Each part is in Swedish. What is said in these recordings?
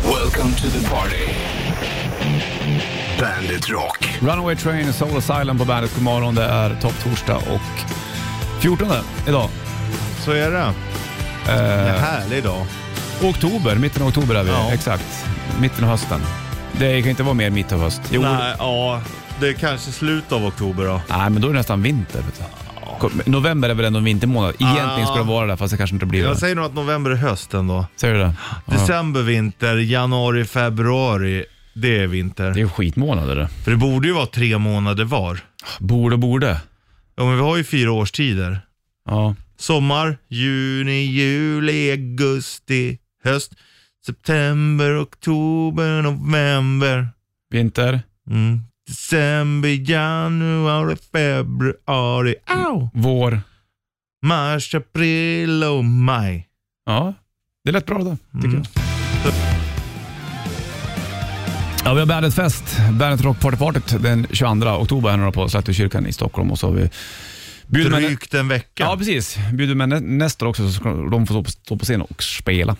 Welcome to the party. Bandit Rock. Runaway Train, Soul Asylum på bandet. God morgon, det är topp torsdag och 14 idag. Så är det. Eh, En härlig dag. Oktober, mitten av oktober är vi. Ja. Exakt, mitten av hösten. Det kan inte vara mer mitt av höst. Jo, Nej, ja, det är kanske slut av oktober då. Nej, men då är det nästan vinter. Vet du. Kom- November är väl ändå en vintermånad. Egentligen Ah. ska det vara det, fast det kanske inte blir Jag det. säger nog att november är hösten då. Säger du det? Ja. December vinter, januari, februari, det är vinter. Det är ju skitmånader det. För det borde ju vara tre månader var. Borde och borde. Ja, men vi har ju fyra årstider. Ja. Sommar, juni, juli, augusti, höst, september, oktober, november. Vinter. Mm. December, januari, februari, au! Vår. Mars, april och maj. Ja, det lät bra det tycker Mm. jag. Ja, vi har Bandet-fest, Bandet Rock Party Partyt den 22 oktober här nu då på Slättokyrkan i Stockholm och så har vi bjudit med, Drygt en vecka. ja, precis. Bjuder med nä- nästa också så ska de få stå på, stå på scen och spela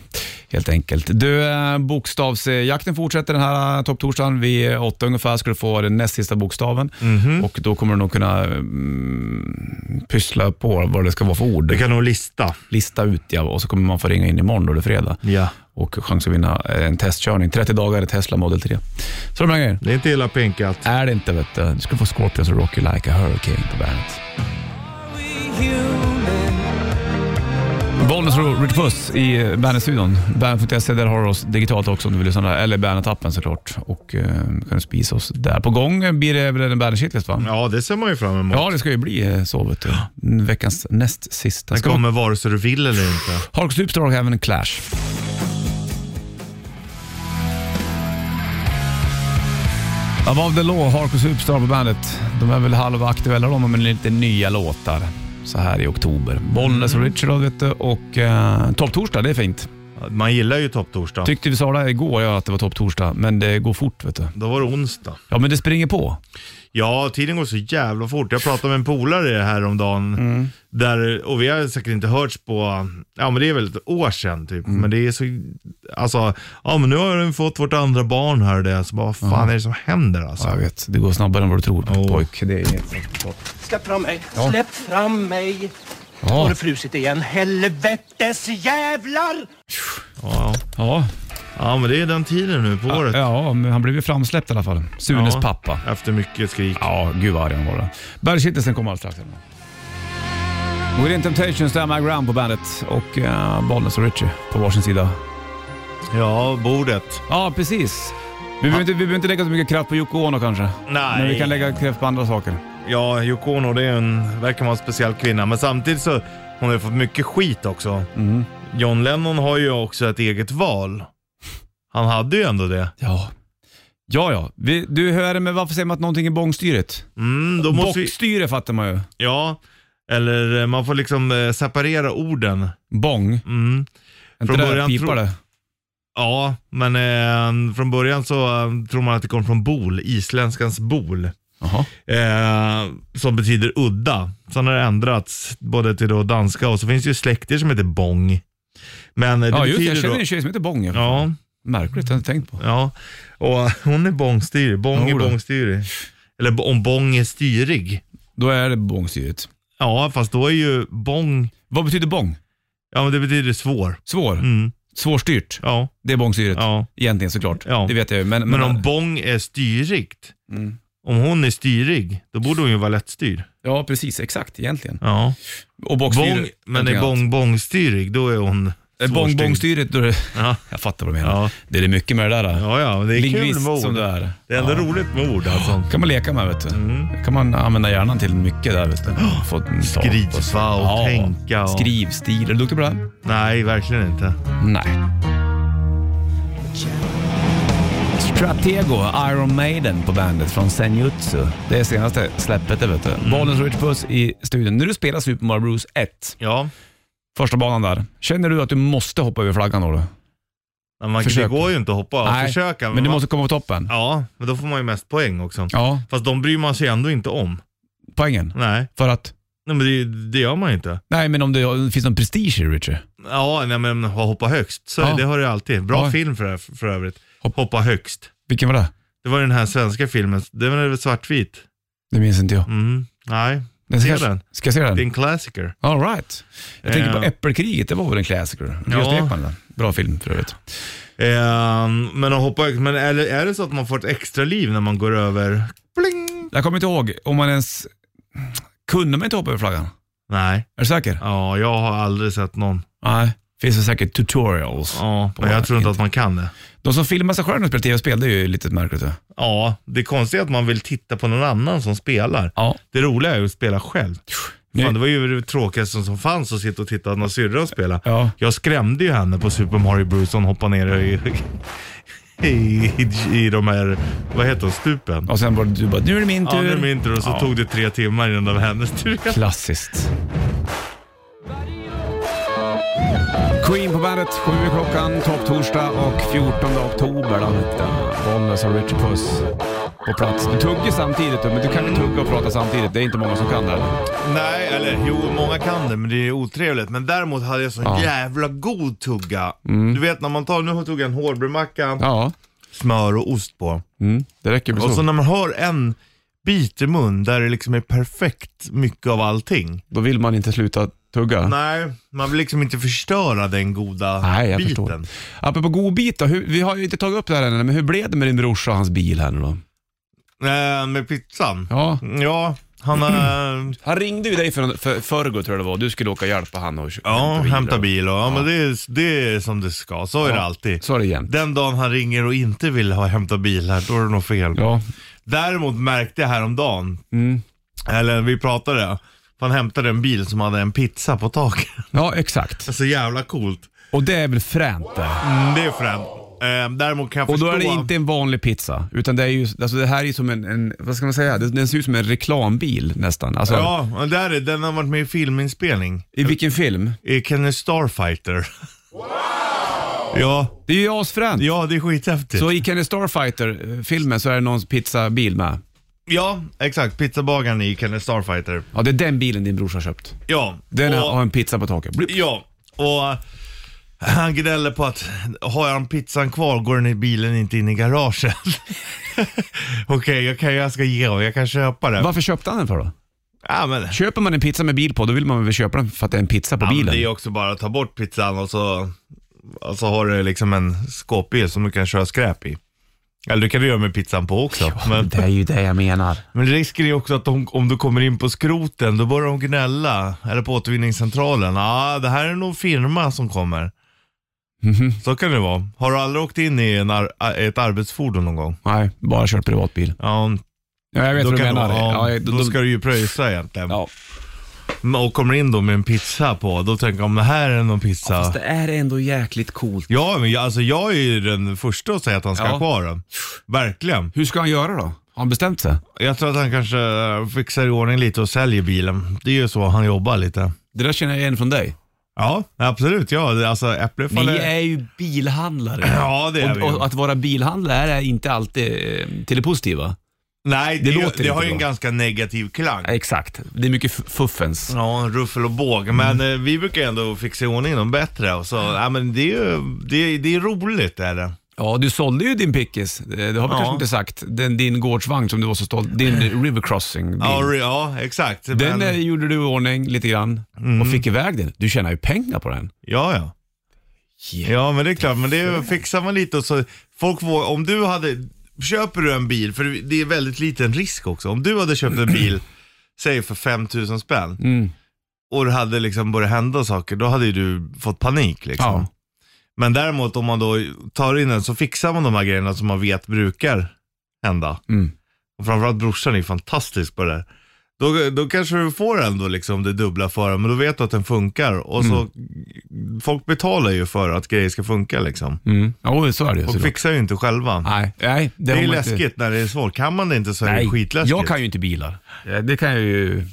helt enkelt. Du, eh, bokstavsjakten fortsätter den här eh, topptorsdagen. Vid eh, åtta ungefär ska du få den näst sista bokstaven Mhm. Mm. och då kommer du nog kunna mm, pyssla på vad det ska vara för ord. Vi kan nog lista. Lista ut ja, och så kommer man få ringa in imorgon då det är fredag Ja. och chans att vinna en testkörning. 30 dagar i Tesla Model 3. Så de här grejerna. Det är inte illa pinkat. Är det inte vet du. Du ska få Scorpions och Rock You Like A Hurricane på bandet. Bollnäs och Rich Puss i Bandet-studion. Bandet.se, där har du oss digitalt också om du vill lyssna där. Eller Bandet-appen såklart. Och eh, kan du spisa oss där. På gång blir det väl en Bandet-shitlist va? Ja, det ser man ju fram emot. Ja, det ska ju bli eh, så vet du. Veckans näst sista. Den Ska vi- kommer vare sig du vill eller inte. Hark Superstar och även Clash. Above the Law, Hark Superstar på bandet. De är väl halva aktuella de med lite nya låtar så här i oktober. Bollnäs och Richard vet du, och eh, topptorsdag, det är fint. Man gillar ju topptorsdag. Tyckte vi sa det här igår, ja, att det var topptorsdag, men det går fort vet du. Då var det onsdag. Ja, men det springer på. Ja, tiden går så jävla fort. Jag pratade med en polare häromdagen. Mm. Där, och vi har säkert inte hörts på, ja men det är väl ett år sedan typ. Mm. Men det är så, alltså, ja men nu har vi fått vårt andra barn här och det. Så bara, Mm. vad fan är det som händer alltså? jag vet. Det går snabbare än vad du tror Åh. pojk. Det är inget. Släpp fram mig! Släpp fram mig! Har Ja. det frusit igen? Helvetes jävlar! Ja, Ja. ja men det är den tiden nu på året. ja, men han blev ju framsläppt i alla fall. Sunes Ja. pappa. Efter mycket skrik. Ja, gud vad arg han var då. Bergkittelsen kommer alldeles strax. Within Temptations, Damn I Ground på bandet och uh, Bollnäs och Richie på varsin sida. Ja, bordet. Ja, precis. Vi behöver, inte, vi behöver inte lägga så mycket kraft på Yoko Ono kanske. Men vi kan lägga kraft på andra saker. Ja, Yoko Ono det är en, verkar vara en speciell kvinna, men samtidigt så hon har ju fått mycket skit också. Mhm. John Lennon har ju också ett eget val. Han hade ju ändå det. Ja. Ja, ja. Vi, du hör det, men varför säger man att någonting är bångstyret? Mm, då måste vi, Bockstyre fattar man ju. ja, eller eh, man får liksom eh, separera orden. Bång. Mm. Inte Från där början pipar tro- det. Ja, men eh, från början så eh, tror man att det kom från bol, isländskans bol. Jaha. Eh, som betyder udda. Sen har det ändrats både till då danska och så finns det ju släkter som heter bong. Men eh, det Ja, just det. Jag betyder känner då... en tjej som heter Bång. Ja. Ja, Märkligt, jag har inte tänkt på. ja. Och eh, hon är bångstyrig. Bång är Jo då. bångstyrig. Eller b- om bång är styrig. Då är det bångstyret. Ja, fast då är ju bång... Vad betyder bång? Ja, men det betyder svår. Svår. Mm. Svårstyrt. Ja, Det är bångstyret. ja. Egentligen såklart. Ja. Det vet jag ju. Men, Men om bång är styrigt. Mm. Om hon är styrig, då borde hon ju vara lättstyrd. Ja, precis. Exakt. Egentligen. Ja. Och bångstyret. Bång, men är bång bångstyrig, då är hon Eh, Bång, svårstyrd. bångstyret, då är det... Ja, Jag fattar vad du menar. Ja. Det är det mycket med det där. då. ja, ja men det är kul Lingvist med ord. som du är. Det är ändå roligt med ord alltså. kan man leka med, vet du. Mm. kan man använda hjärnan till mycket där, vet du. Få en sak Skriva och Ja. tänka och... Skrivstil. Är du duktig på det? här? Nej, verkligen inte. Nej. Stratego, Iron Maiden på bandet från Senjutsu. Det är senaste släppet det vet du. Mm. Bollens Rich Puss i studion. När du spelar Super Mario Bros 1, Ja. första banan där. Känner du att du måste hoppa över flaggan då? då? Men man, Försök. det går ju inte att hoppa av. Försöka. men du man, måste komma på toppen. Ja, men då får man ju mest poäng också. Ja, Fast de bryr man sig ändå inte om. poängen. Nej, För att, Nej men det, det gör man ju inte. nej men om det finns någon prestige i Richard. Ja, nej, men hoppa högst. Så Ja. Det har du alltid. Bra Ja. film för, för övrigt. Hopp- Hoppa högst. Vilken var det? Det var den här svenska filmen. Den är väl svartvit? Det minns inte jag. Mm. Nej, Den se ska, den. ska jag se det är den? en klassiker. All right. Jag tänker på Eh. Äppelkriget, det var väl en klassiker? Ja. Ja. Ekman, den. Bra film för övrigt. Ehm, men att hoppa högst, men är det, är det så att man får ett extra liv när man går över? Bling! Jag kommer inte ihåg om man ens... Kunde man inte hoppa över flaggan? Nej, Är du säker? ja, jag har aldrig sett någon. Nej. Finns det säkert tutorials. Ja, På men jag tror inte internet. att man kan det. De som filmar sig själva när de spelar tv-spel, det är ju lite märkligt. va? Ja, det konstiga är att man vill titta på någon annan som spelar. Ja. Det roliga är ju att spela själv. Nej. Fan, det var ju det tråkigaste som fanns att sitta och titta på någon syrra och spela. Ja. Jag skrämde ju henne på Super Mario Bros. Hon hoppade ner i, i, i de här, vad heter de, stupen. Och sen var det du bara, nu är det min tur. Ja, nu är min tur och så Ja. tog det tre timmar innan det var hennes tur. Klassiskt. Queen på bandet, sju i klockan, topp torsdag och 14 oktober. Då hittar Bollnäs och Richard Puss på plats. Du tuggar samtidigt, men du kan inte tugga och prata samtidigt. Det är inte många som kan det. här. Nej, eller jo, många kan det, men det är otrevligt. Men däremot hade jag sån Ja. Mm. jävla god tugga. Du vet när man tar, nu har jag tagit en hårdbrödmacka, Ja, smör och ost på. mm, det räcker väl Och så så. när man har en bit i mun där det liksom är perfekt mycket av allting. Då vill man inte sluta tugga. Nej, man vill liksom inte förstöra den goda Nej, jag biten. förstår. Apropå godbit då, hur, vi har ju inte tagit upp det här än, men hur blev det med din brorsa och hans bil här nu då? Eh, med pizzan? Ja. Ja, han har... Han ringde ju dig för, för, förrgår tror jag det var, du skulle åka och hjälpa han och Ja, hämta bil och ja, men Ja. det är, det är som det ska. Så är det alltid. Så är det jämt. Den dagen han ringer och inte vill ha hämta bil här, då är det nog fel. Ja, Däremot märkte jag häromdagen, Mm. eller vi pratade, han hämtade en bil som hade en pizza på taket. ja exakt. Så jävla coolt. Och det är väl fränt det. Mm, det är fränt. Eh, däremot kan jag Och förstå... då är det inte en vanlig pizza, utan det, är ju, alltså det här är ju som en, en vad ska man säga, det, den ser ut som en reklambil nästan. Alltså, Ja, och där är, den har varit med i filminspelning. I vilken film? I Kenny Starfighter. Ja, Det är ju asfränt. ja, det är skithäftigt. Så i Kenny Starfighter-filmen så är det någons pizzabil med. Ja, exakt. Pizzabagaren i Kenny Starfighter. Ja, det är den bilen din brorsa har köpt. Ja. Den och, har en pizza på taket. Blip. Ja, och eh, han gnäller på att har jag pizzan kvar går den i bilen inte in i garaget. Okej, jag, kan, jag ska ge och jag kan köpa den. Varför köpte han den för då? Ja, men, ja, Köper man en pizza med bil på, då vill man väl köpa den för att det är en pizza på men bilen? det är ju också bara att ta bort pizzan och så, och så har du liksom en skåpbil som du kan köra skräp i. Eller det kan du göra med pizzan på också. men, Det är ju det jag menar. men risken är ju också att om, om du kommer in på skroten, då börjar de gnälla. Eller på återvinningscentralen. Ja, ah, det här är nog firma som kommer. Mhm. Så kan det vara. Har du aldrig åkt in i en ar- a- ett arbetsfordon någon gång? Nej, bara kört privatbil. Ja, Ja, jag vet då, vad du kan menar. du, ja, ja, då, ska du ju pröjsa egentligen. ja. Men- Och kommer in då med en pizza på, då tänker jag om det här är någon pizza. Ja, Fast det är ändå jäkligt coolt. men jag, alltså, jag är ju den första att säga att han ska Ja. ha kvar den. Verkligen. Hur ska han göra då? Har han bestämt sig? Jag tror att han kanske eh, fixar i ordning lite och säljer bilen. Det är ju så han jobbar lite. Det där känner jag igen från dig. Ja, absolut. Ja, det- alltså äpple Ni faller... är ju bilhandlare. Ja, det är vi ju. och, och att vara bilhandlare är inte alltid eh, till det positiva. Nej, det, det är ju- låter det inte har ju bra. en ganska negativ klang. Exakt. Det är mycket f- fuffens. Ja, en ruffel och båg. Men Mm. eh, vi brukar ändå fixa i ordning dem bättre. Och så, ja, men det, är ju, det, är- det är roligt är det. Ja, du sålde ju din pickis. Eh, Det har vi Ja. kanske inte sagt. Den, din gårdsvagn som du var så stolt Din River Crossing. Ja, re- ja exakt. Den men, eh, gjorde du i ordning lite grann och Mm. fick iväg den. Du tjänar ju pengar på den. ja, ja. ja, men det är klart. Men det fixar man lite och så folk vågar, om du hade, köper du en bil, för det är väldigt liten risk också. Om du hade köpt en bil, säg för 5000 spänn. Och det hade liksom börjat hända saker, då hade ju du fått panik liksom. Ja. Men däremot om man då tar in den så fixar man de här grejerna som man vet brukar hända. Mm. Och framförallt brorsan är fantastisk på det där. Då, då kanske du får ändå liksom det dubbla för den, men då vet du att den funkar. Och så, folk betalar ju för att grejer ska funka liksom. Mm. Ja, så är det ju. Folk såklart. fixar ju inte själva. Nej, nej, det är har ju man inte- läskigt när det är svårt. Kan man det inte så är det skitläskigt. jag kan ju inte bilar. Eh, Det kan jag ju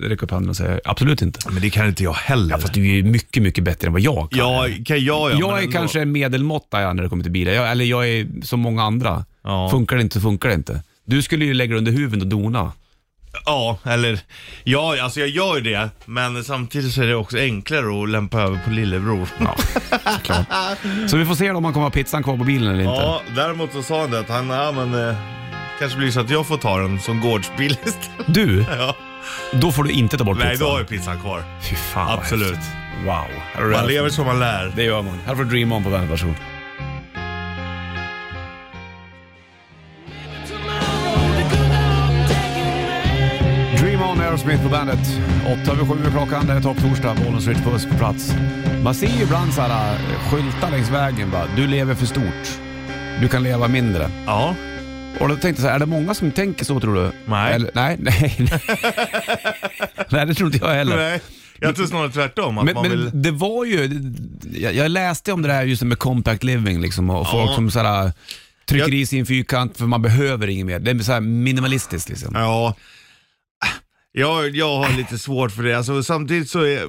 räcka upp handen och säga absolut inte. Men det kan inte jag heller. Ja, fast du är ju mycket, mycket bättre än vad jag kan. Ja, kan jag ja, men jag är ändå. kanske en medelmåtta ja, när det kommer till bilar, jag, eller jag är som många andra. Ja. Funkar det inte så funkar det inte. Du skulle ju lägga dig under huven och dona. Ja, eller ja, alltså jag gör det, men samtidigt så är det också enklare att lämpa över på lillebror. Ja, såklart. Så vi får se om man kommer ha pizzan kvar på bilen eller inte. Ja, däremot så sa han det att han, ja men eh, kanske blir det så att jag får ta den som gårdsbil istället. Du, Ja. då får du inte ta bort Nej, då pizzan. har jag pizzan kvar. Fy fan vad Absolut. häftigt. Wow. Här har du Man det. lever som man lär. Det gör man. Här får du Dream On på bandet, varsågod. Dream On Aerosmith på bandet. 8 över 7 klockan, det är topp torsdag. Bollnäs Rich Puss på plats. Man ser ju ibland så här eh, skyltar längs vägen bara, du lever för stort. Du kan leva mindre. Ja, Och då tänkte jag så här, är det många som tänker så tror du? Nej. Eller, nej, nej. nej. nej, det tror inte jag heller. nej. Jag tror snarare tvärtom. Att Men, man men vill... det var ju, jag, jag läste om det där just med compact living liksom, och folk som såhär, trycker Jag- i sig i en fyrkant för man behöver inget mer. Det är såhär minimalistiskt liksom. Ja, jag, jag har lite svårt för det. Alltså, samtidigt så, är,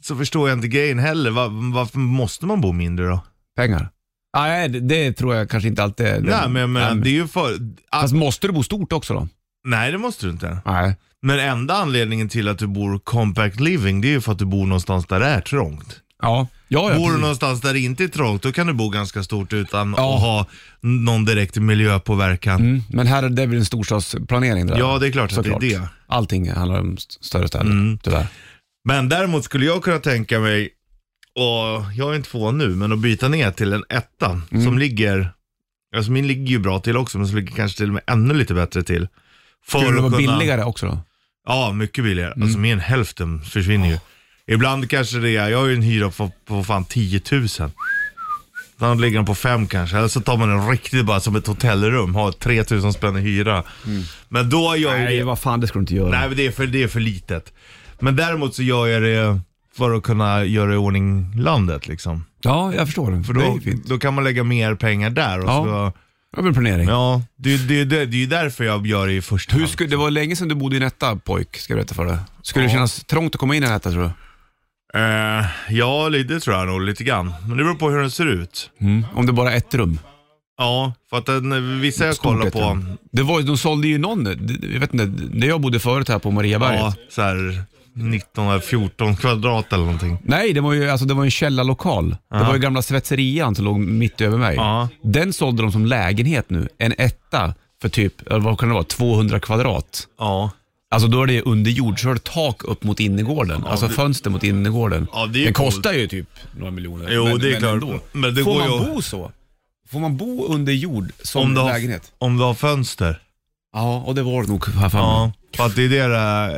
så förstår jag inte grejen heller. Va- varför måste man bo mindre då? Pengar. Ah, nej, det, det tror jag kanske inte alltid är. Nej, men, jag menar, Nej, men- det är ju för... Ah, Fast måste du bo stort också då? nej, det måste du inte. Nej. Men enda anledningen till att du bor compact living, det är ju för att du bor någonstans där det är trångt. Ja, ja, ja Bor du precis. någonstans där det inte är trångt, då kan du bo ganska stort utan Ja. att ha någon direkt miljöpåverkan. mm, Men här är det väl en storstadsplanering det där? Ja, det är klart att det är det. Mm. Allting handlar om st- större städer, tyvärr. Men däremot skulle jag kunna tänka mig, och jag är inte två nu, men att byta ner till en etta Mm. som ligger, alltså min ligger ju bra till också, men som ligger kanske till och med ännu lite bättre till. För Skulle det att vara kunna- billigare också då? Ja, mycket billigare. Mm. Alltså mer än hälften försvinner ju. Ibland kanske det är, jag har ju en hyra på, på fan 10 000. Ibland ligger den på fem kanske, eller så tar man en riktigt bara som ett hotellrum, har 3 000 spänn i hyra. Men då gör ju Mm. Nej, det, vad fan det skulle du inte göra. nej men det är, för, det är för litet. Men däremot så gör jag det för att kunna göra i ordning landet liksom. Ja, jag förstår det. För det är då, ju fint. då kan man lägga mer pengar där och Ja. så, Ja, men planering. ja, det, det, det, det är ju därför jag gör det i första Hur hand. skulle, det var länge sedan du bodde i en etta pojk, ska jag berätta för dig. Skulle det kännas trångt att komma in i en etta tror du? Eh, ja, det tror jag nog lite grann. Men det beror på hur den ser ut. Om det bara är ett rum. Ja, för att den, vissa jag kollar Stort ett på, rum. Det var, ju- de sålde ju någon, det- jag vet inte, när jag bodde förut här på Mariaberget. ja, så här 19 eller 14 kvadrat eller någonting. Nej, det var ju alltså, det var en källarlokal. Det var ju gamla svetserian som låg mitt över mig. Ja. Den sålde de som lägenhet nu, en etta för typ, eller vad kan det vara, 200 kvadrat. Ja. Alltså då är det under jord, så har du tak upp mot innergården. alltså fönster mot innergården. Ja, det är ju den coolt. kostar ju typ några miljoner. Jo, det är klart. Men det Får går man ju att- bo så? Får man bo under jord som Om du, har, lägenhet? om du har fönster. Ja, och det var det nog här framme. Ja, för att det är det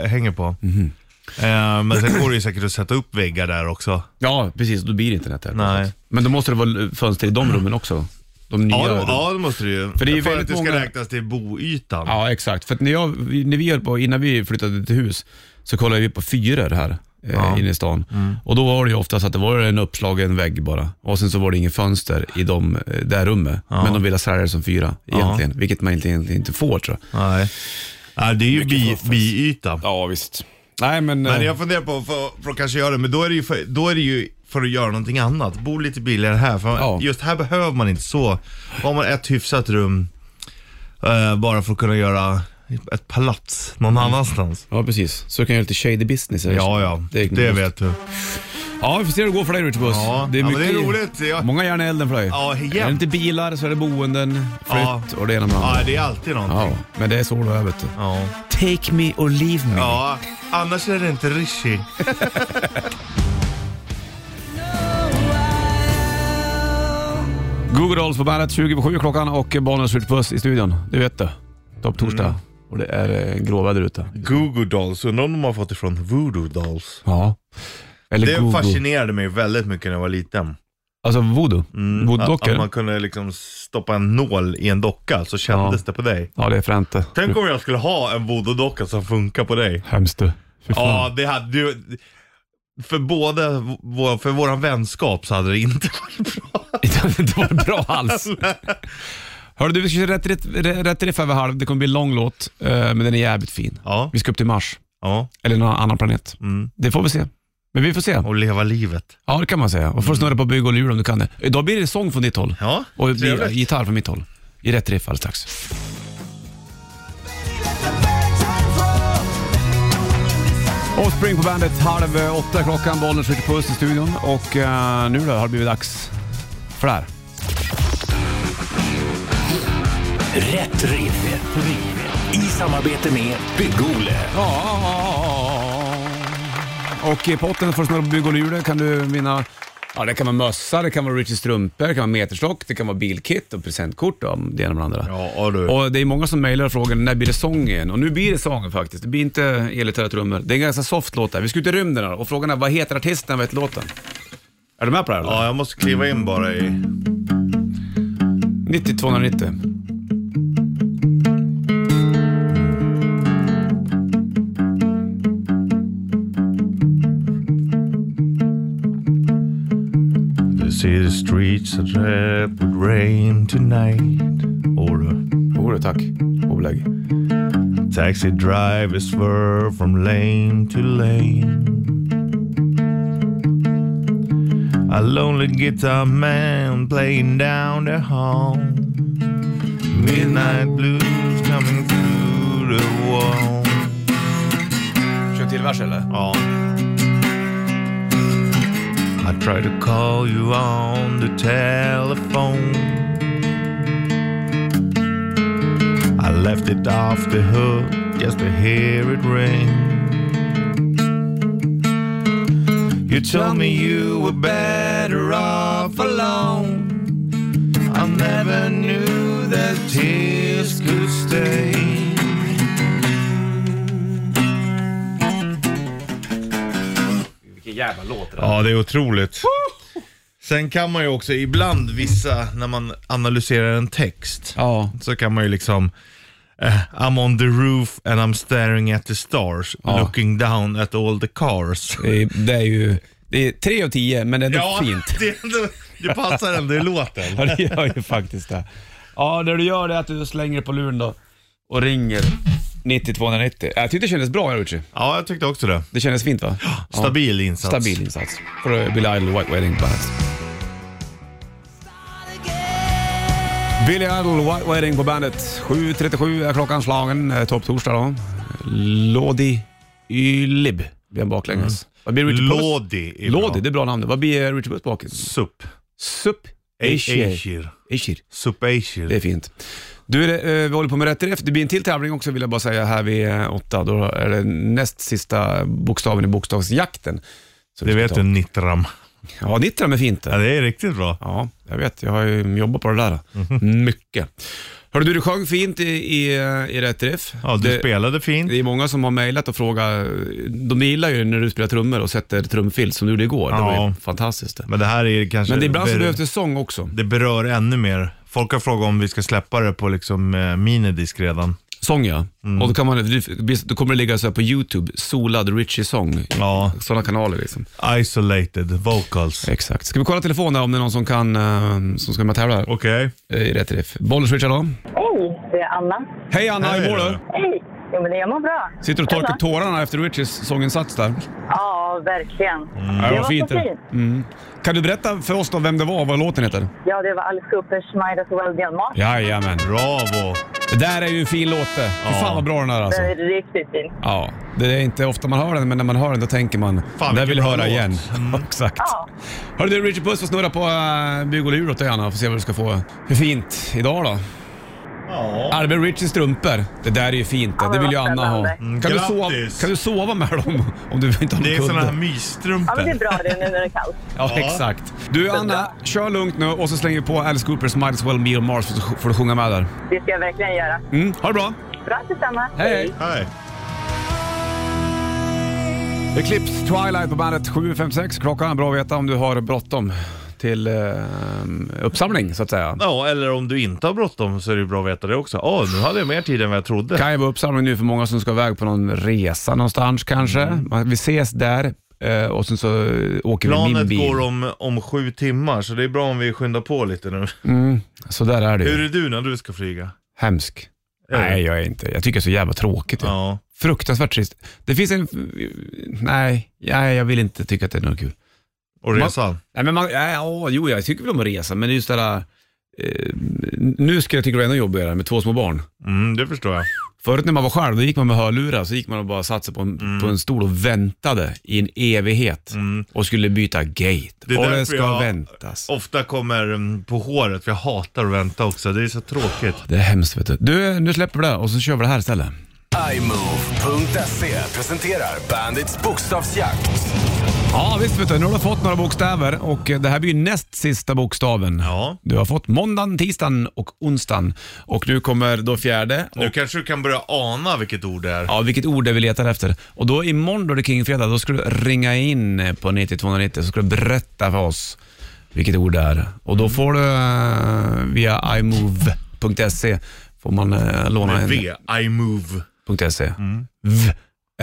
det hänger på. Mhm. Eh, men sen går det ju säkert att sätta upp väggar där också. Ja, precis. Då blir det internet där. Nej. Men då måste det vara fönster i de rummen också. De nya Ja, det- rummen. ja det måste det ju. För det är ju för att väldigt det ska många- räknas till boytan. Ja, exakt. För att när, jag, när vi höll på, innan vi flyttade till hus så kollade vi på fyror här eh, inne i stan. Mm. Och då var det ju oftast att det var en uppslagen vägg bara. Och sen så var det inget fönster i de, eh, där rummet. Men de ville sälja det som fyra egentligen, vilket man inte- egentligen inte får tror jag. Nej. Ja, det är ju bi, fuffens. biyta. Ja, visst. Nej, men... Men eh, jag funderar på för, för att kanske göra det, men då är det, ju för, då är det ju för att göra någonting annat. Bo lite billigare här, för Ja. just här behöver man inte så. Har man ett hyfsat rum, eh, bara för att kunna göra ett palats någon Mm. annanstans. Ja, precis. Så kan jag göra lite shady business. eller så. Ja, ja, Det det, är knust. vet du. Ja, vi får se hur det går för dig Richard Puss. Ja, ja, men det är roligt. Jag- Många järn i elden för dig. Ja, jämt. Är det inte bilar så är det boenden, Ja. flytt och det ena med det andra. Ja, det är alltid någonting. Ja, men det är så det är vet du. Ja. Take me or leave me. ja, annars är det inte rishi. Google Dolls på bandet 20 på 7 klockan och Bonniers Richard Puss i studion. Du vet det. Topp torsdag. Mm. Och det är eh, gråväder ute. Google Dolls, undrar om de har fått ifrån Voodoo Dolls. Ja. Eller Det Google. fascinerade mig väldigt mycket när jag var liten. Alltså voodoo. Mm. Att, att man Voodoo-dockor. kunde liksom stoppa en nål i en docka så kändes Ja. det på dig. Ja, det är fränt det. Tänk om jag skulle ha en voodoo-docka som funkar på dig. Hemskt du. Fy fan. Ja, det hade ju... För både vår, för våran vänskap så hade det inte varit bra. det hade inte varit bra alls. Hörru du, vi ska köra rätt, rätt, rätt riff över halv. Det kommer bli en lång låt, eh, men den är jävligt fin. Ja, Vi ska upp till Mars, ja. eller någon annan planet. Mm. Det får vi se. Men vi får se. Och leva livet. Ja, det kan man säga. Och får snurra på bygg och lur om du kan det. Idag blir det sång från ditt håll. Ja, Och Mm. det blir trevligt. gitarr från mitt håll. I rätt riff alldeles strax. Let the bad times roll. Offspring på bandet, halv åtta klockan, Bollnäs skjuter puss i studion och eh, nu då har det blivit dags för det här. Rätt riff. Rätt riff. I samarbete med Bygg-Ole. Och i potten får du snurra på bygg och luren kan du vinna Ja, det kan vara mössa, det kan vara Richie strumpor, det kan vara meterstock, det kan vara bilkit och presentkort och det ena med det andra. Ja, du. Och det är många som mejlar och frågar när blir det sång igen? Och nu blir det sång faktiskt. Det blir inte elgitarr och trummor. Det är en ganska soft låt där. Vi ska ut i rymden här och frågan är vad heter artisten vad heter låten? Är du med på det här? eller? Ja, jag måste kliva in bara i... 90 290. The city streets are red with rain tonight. Or the Jodå, tack. Oblägg. taxi drivers swerve from lane to lane. A lonely guitar man playing down the hall. Midnight blues coming through the wall. Kör en till vers eller? Ja. I try to call you on the telephone. I left it off the hook just to hear it ring. You told me you were better off alone. I never knew that tears could stay. Vilken jävla låt det Ja, det är otroligt. Sen kan man ju också ibland vissa, när man analyserar en text, Ja. så kan man ju liksom eh, I'm on the roof and I'm staring at the stars, Ja. looking down at all the cars. Det är, det är ju... Det är 3 av 10 men det är ändå fint. Det, det passar ändå i låten. Ja, det gör ju faktiskt det. Ja, det du gör det är att du slänger på luren då och ringer 90 290. Jag tyckte det kändes bra, Ruchi. Ja, jag tyckte också det. Det kändes fint va? Stabil insats. Stabil insats. Får du Billy Idol White Wedding på bandet. Billy Idol White Wedding på bandet. 7.37 är klockan slagen. Eh, Topptorsdag då. Lodi Ylib blir han baklänges. Vad blir Richard Puss? Mm. Lodi är Lodi, det bra. är bra namn. det. Vad blir eh, Richard Puss bakis? Sup. Sup Eichir. Eishir. Eichir. Sup Det är Eishir. fint. Du, är det, eh, vi håller på med rätt riff. Det blir en till tävling också vill jag bara säga här vid eh, åtta. Då är det näst sista bokstaven i bokstavsjakten. Så vi Det ska vet ta. du, Nittram. Ja, ditt är fint det. Ja, det är riktigt bra. Ja, jag vet. Jag har ju jobbat på det där. Mhm. Mycket. Hörru du, du sjöng fint i, i, eh, i Rätt Riff. Ja, du det, spelade fint. det är många som har mejlat och frågat. De gillar ju när du spelar trummor och sätter trumfilt som du gjorde igår. Det var ju Ja. fantastiskt. Det. Men det här är kanske... Men det är ibland så ber- behövs det sång också. Det berör ännu mer. Folk har frågat om vi ska släppa det på liksom eh, minidisk redan. Sång ja. Och då, kan man, då kommer det ligga så här på YouTube, solad Richie sång. Ja, Sådana kanaler liksom. isolated vocals. Exakt. Ska vi kolla telefonen om det är någon som kan, eh, som ska med och tävla här, Okej. eh, i Rätt Riff? Bollers Richard då. Hej, det är Anna. Hej Anna, hur Hej. mår du? Hej! Jo, men jag mår bra. Sitter du och torkar tårarna efter Richies sånginsats där? Ja, verkligen. Mm. Ja, Det var fint så det. fint. Mm. Kan du berätta för oss då vem det var och vad låten heter? Ja, det var Alice Coopers Might as well be on Mars. Jajamän. Bravo. Det där är ju en fin låt det. Fy fan vad bra den är alltså. Den är riktigt fin. Ja, det är inte ofta man hör den, men när man hör den då tänker man, Fan, den där vill jag vilken höra bra igen. låt. Mm. Exakt. Ja. Hörru du, Richard Puss får snurra på uh, bygg och lur åt dig Anna, får se vad du ska få för fint idag då. Ja. Arbe Richies strumpor. Det där är ju fint det, Ja, det vill ju vad Anna ha. spännande. Kan Mm, du, sova, grattis. kan du sova med dem om du inte har någon Det är sådana kudde? här Ja, men det är mysstrumpor. bra det nu när det är kallt. Ja, Ja. exakt. Du Anna, kör lugnt nu och så slänger vi på Alice Coopers Might as well be on Mars så får du sjunga med där. Det ska jag verkligen göra. Mm, ha det bra. Bra detsamma. Hej, hej. Hej. Eclipse Twilight på bandet 7.56 klockan. Bra att veta om du har bråttom till eh, uppsamling så att säga. Ja, eller om du inte har bråttom så är det bra att veta det också. Åh, nu hade jag mer tid än vad jag trodde. Kan ju vara uppsamling nu för många som ska iväg på någon resa någonstans kanske. Mm. Man- Vi ses där eh, och sen så eh, åker vi i min Planet bil. går om, om sju timmar, så det är bra om vi skyndar på lite Mm. nu. Så där är det Hur ju. är du när du ska flyga? Hemsk. Är det? Nej, jag är inte. Jag tycker det är så jävla tråkigt. ju. Ja. Fruktansvärt trist. Det finns en... Nej, nej, jag vill inte tycka att det är något kul. Och resan? Nej, men man, ja, ja, jo, jag tycker väl om att resa, men det är just det där... Eh, nu ska jag tycka det är ännu jobbigare med två små barn. Mm, det förstår jag. Förut när man var själv, då gick man med hörlurar, så gick man och bara satte sig på en, på en stol och väntade i en evighet och skulle byta gate. Det är och det därför ska jag- väntas. Ofta kommer mm, på håret, för jag hatar att vänta också. Det är så tråkigt. Det är hemskt vet du. Du, nu släpper vi det och så kör vi det här istället. iMove.se presenterar Bandits bokstavsjakt. Ja visst vet du, nu har du fått några bokstäver och eh, det här blir ju näst sista bokstaven. Ja. Du har fått måndagen, tisdagen och onsdagen och nu kommer då fjärde. Och, Nu kanske du kan börja ana vilket ord det är. ja, vilket ord det är vi letar efter. Och då imorgon då det är Kingfredag, då ska du ringa in eh, på 9290 så ska du berätta för oss vilket ord det är. Och Mm. då får du eh, via imove.se får man eh, låna Med en... V, Mm. I move. .se. V.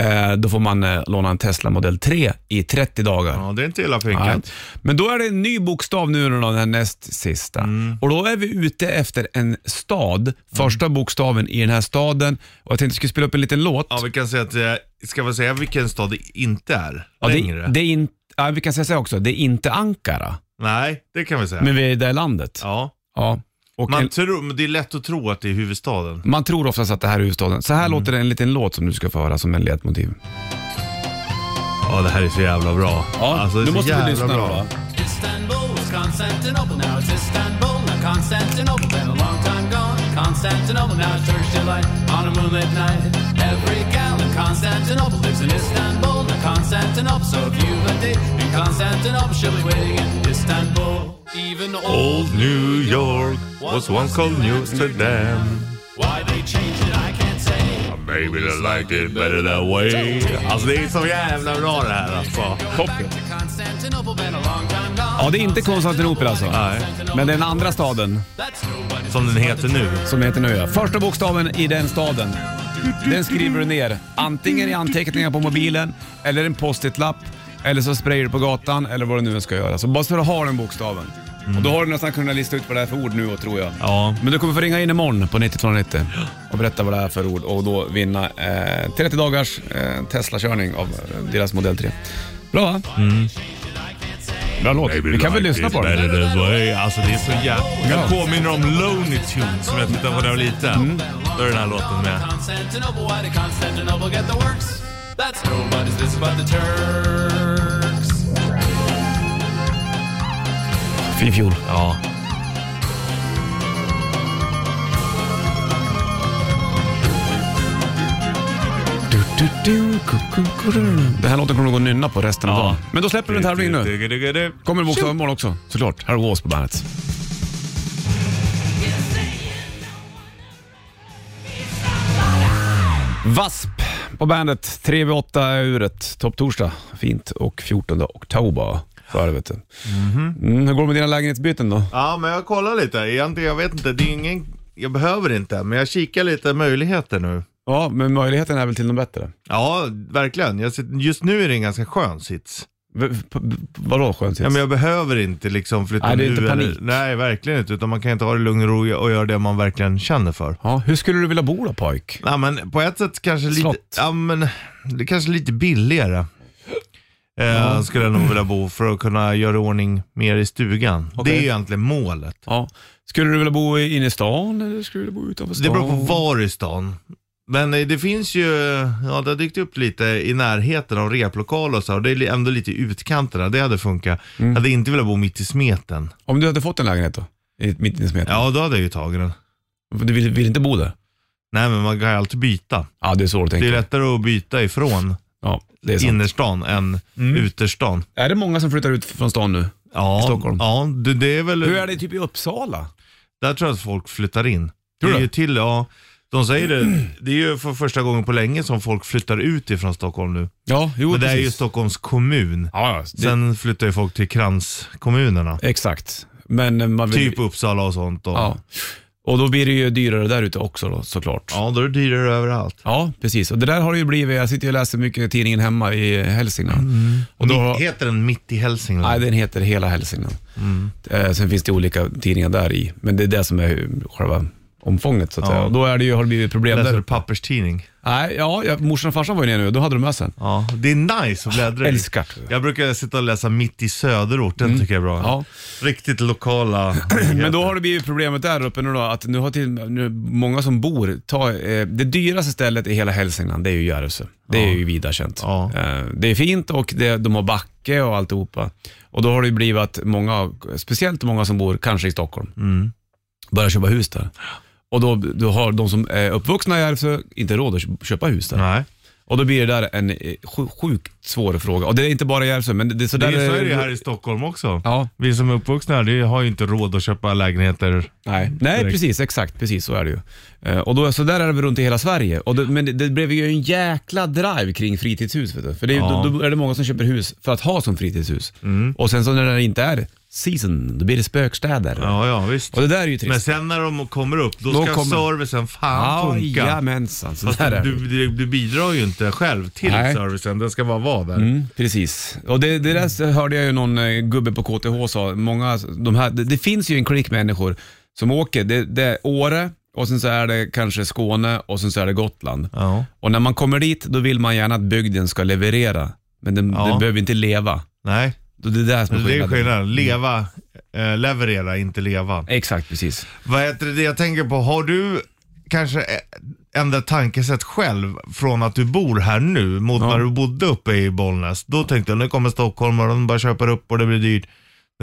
Eh, då får man eh, låna en Tesla modell 3 i 30 dagar. Ja, det är inte illa Nej. pinkat. Men då är det en ny bokstav nu då, den här näst sista. Mm. Och då är vi ute efter en stad, första bokstaven i den här staden. Och jag tänkte att jag skulle spela upp en liten låt. Ja, vi kan säga att, eh, ska vi säga vilken stad det inte är? Ja, Längre? det, det är in, ja, vi kan säga så här också, det är inte Ankara, Nej, det kan vi säga. men vi är i det här landet. Ja. Ja. Och Man en, tror, men det är lätt att tro att det är huvudstaden. man tror oftast att det här är huvudstaden. Så här Mm. låter det en liten låt som du ska få höra som en ledmotiv. Ja, det här är så jävla bra. Ja, Alltså, det är nu så måste vi jävla lyssna då. bra. va? Istanbul's Constantinople now it's Istanbul and Constantinople been a long time gone Constantinople now it's Turkish delight on a moonlit night every gal in Constantinople lives in Istanbul and Constantinople so if you've a date in Constantinople she'll be waiting in Istanbul even old Old New York was once called New Amsterdam. why they changed it I can't say Maybe they like it better that way. Alltså det är så jävla bra det här alltså. back to Constantinople been a long time gone Ja, det är inte Konstantinopel alltså. Nej. Men det är den andra staden That's nobody's Som den heter nu. som heter nu ja. Första bokstaven i den staden. Den skriver du ner. Antingen i anteckningar på mobilen, eller en post-it-lapp, eller så sprayar du på gatan, eller vad du nu än ska göra. Så bara så du har den bokstaven. Och då har du nästan kunnat lista ut vad det är för ord nu tror jag. Mm. Ja. Men du kommer få ringa in imorgon på 9290 och berätta vad det är för ord och då vinna eh, 30 dagars eh, Tesla-körning av eh, deras modell 3. Bra va? Bra låt. Vi kan väl lyssna på den? Better that way. Alltså det är så jävla... Ja. Jag påminner om Lonely Tunes som jag tittade på när jag var liten. Mm. Då är den här låten med. Constantinople, why did Constantinople get the works? That's nobody's business but the Turks. Fin fjol. Ja. Det här låten kommer du gå och nynna på resten av Ja. dagen. Men då släpper vi en tävling nu. nu. Kommer en bokstav imorgon också, såklart. Här är Wars på bandet. Vasp på bandet. 3 vid 8 är uret. Topptorsdag. Fint. Och 14 oktober. Så är det, vet du. Mhm. Mm, hur går det med dina lägenhetsbyten då? Ja, men jag kollar lite. Egentligen, jag vet inte. Det är ingen... Jag behöver inte, men jag kikar lite möjligheter nu. Ja, men möjligheten är väl till något bättre? Ja, verkligen. Jag sitter... Just nu är det en ganska skön sits. V- p- p- vadå skön sits? Ja, men jag behöver inte liksom flytta Nej, det är nu inte eller- panik. Nej, verkligen inte. Utan man kan ta det i lugn och ro och göra det man verkligen känner för. ja, hur skulle du vilja bo då pojk? Ja, men på ett sätt kanske lite, Slott. ja, men, det kanske lite billigare. Eh, Skulle jag nog vilja bo för att kunna göra i ordning mer i stugan. Det är ju egentligen målet. Ja. Skulle du vilja bo i- inne i stan eller skulle du bo utanför stan? Det beror på var i stan. Men eh, det finns ju, ja det har dykt upp lite i närheten av replokal och så. Och det är li- ändå lite i utkanterna, det hade funkat. Mm. Jag hade inte velat bo mitt i smeten. Om du hade fått en lägenhet då? I mitt i smeten? Ja, då hade jag ju tagit den. Du vill, vill inte bo där? Nej, men man kan ju alltid byta. Ja, det är så du Det tänker. är lättare att byta ifrån Ja, det är sant. Mm. innerstan än uterstan. Är det många som flyttar ut från stan nu? Ja, I Stockholm. Ja, det, det är väl... Hur är det typ i Uppsala? Där tror jag att folk flyttar in. Tror det är du? ju till, ja. De säger det, det är ju för första gången på länge som folk flyttar ut ifrån Stockholm nu. Ja, jo Men det är ju precis. Stockholms kommun. Ja, ja, det, Sen flyttar ju folk till kranskommunerna. Exakt. Men eh, man vill... Typ Uppsala och sånt. Och, ja. Ja. Och då blir det ju dyrare där ute också då, såklart. Ja. då är det dyrare överallt. precis. Och det där har det ju blivit. Jag sitter ju och läser mycket i tidningen hemma i Hälsingland. Och då har- Mitt, Mm. heter Mm. den Mitt i Hälsingland? Nej, den heter Hela Hälsingland. Eh, sen finns det olika tidningar där i, men det är det som är själva omfånget så att Ja. säga. Och då är det ju, har det blivit problem Läser du där. papperstidning? Nej, ja, jag, morsan och farsan var ju nere nu då hade de med sig en. Ja, det är nice att bläddra i. Älskar. Mm. Jag brukar sitta och läsa Mitt i söderort, den tycker jag är bra. Ja. Riktigt lokala Men då har det blivit problemet där uppe nu då, att nu har till, nu, många som bor, ta, eh, det dyraste stället i hela Hälsingland, det är ju Järvsö. Det är ju vida känt. Ja. Eh, det är fint och det, de har backe och alltihopa. Och då har det ju blivit att många, speciellt många som bor kanske i Stockholm, Mm. börjar köpa hus där. Och då, då har de som är uppvuxna i Järvsö inte råd att köpa hus där. Nej. Och då blir det där en eh, sju- sjukt svår fråga. Och det är inte bara i Järvsö, men det, det är Det sådär... är, så är det ju här i Stockholm också. Ja. Vi som är uppvuxna här, det har ju inte råd att köpa lägenheter. Nej, Nej Mm. Direkt. precis. Exakt. Precis så är det ju. Eh, Och då, så där är det väl runt i hela Sverige. Och det, men det, det blev ju en jäkla drive kring fritidshus. Vet du? För det, är ju- Ja. Mm. då, då är det många som köper hus för att ha som fritidshus. Och sen så när det inte är season, då blir det spökstäder. Ja, ja, visst. Och det där är ju trist. Men sen när de kommer upp, då, Då ska kommer- servicen fan Ja, funka. Jajamensan, så Fast där är det. du, du, du bidrar ju inte själv till Nej. servicen, den ska bara vara där. Mm, precis. Och det, det Mm. där så hörde jag ju någon eh, gubbe på KTH sa. Många, de här, det, det finns ju en klick människor som åker. Det, det är Åre och sen så är det kanske Skåne och sen så är det Gotland. Ja. Och när man kommer dit, då vill man gärna att bygden ska leverera. Men den, Ja. den behöver inte leva. Nej, Då Det är det som är det skillnaden. är Mm. skillnaden. Leva, eh, leverera, inte leva. Exakt, precis. Vad heter det jag tänker på? Har du kanske ändrat tankesätt själv från att du bor här nu mot när du bodde uppe i Bollnäs? Då tänkte jag nu kommer Stockholm och de bara köper upp och det blir dyrt.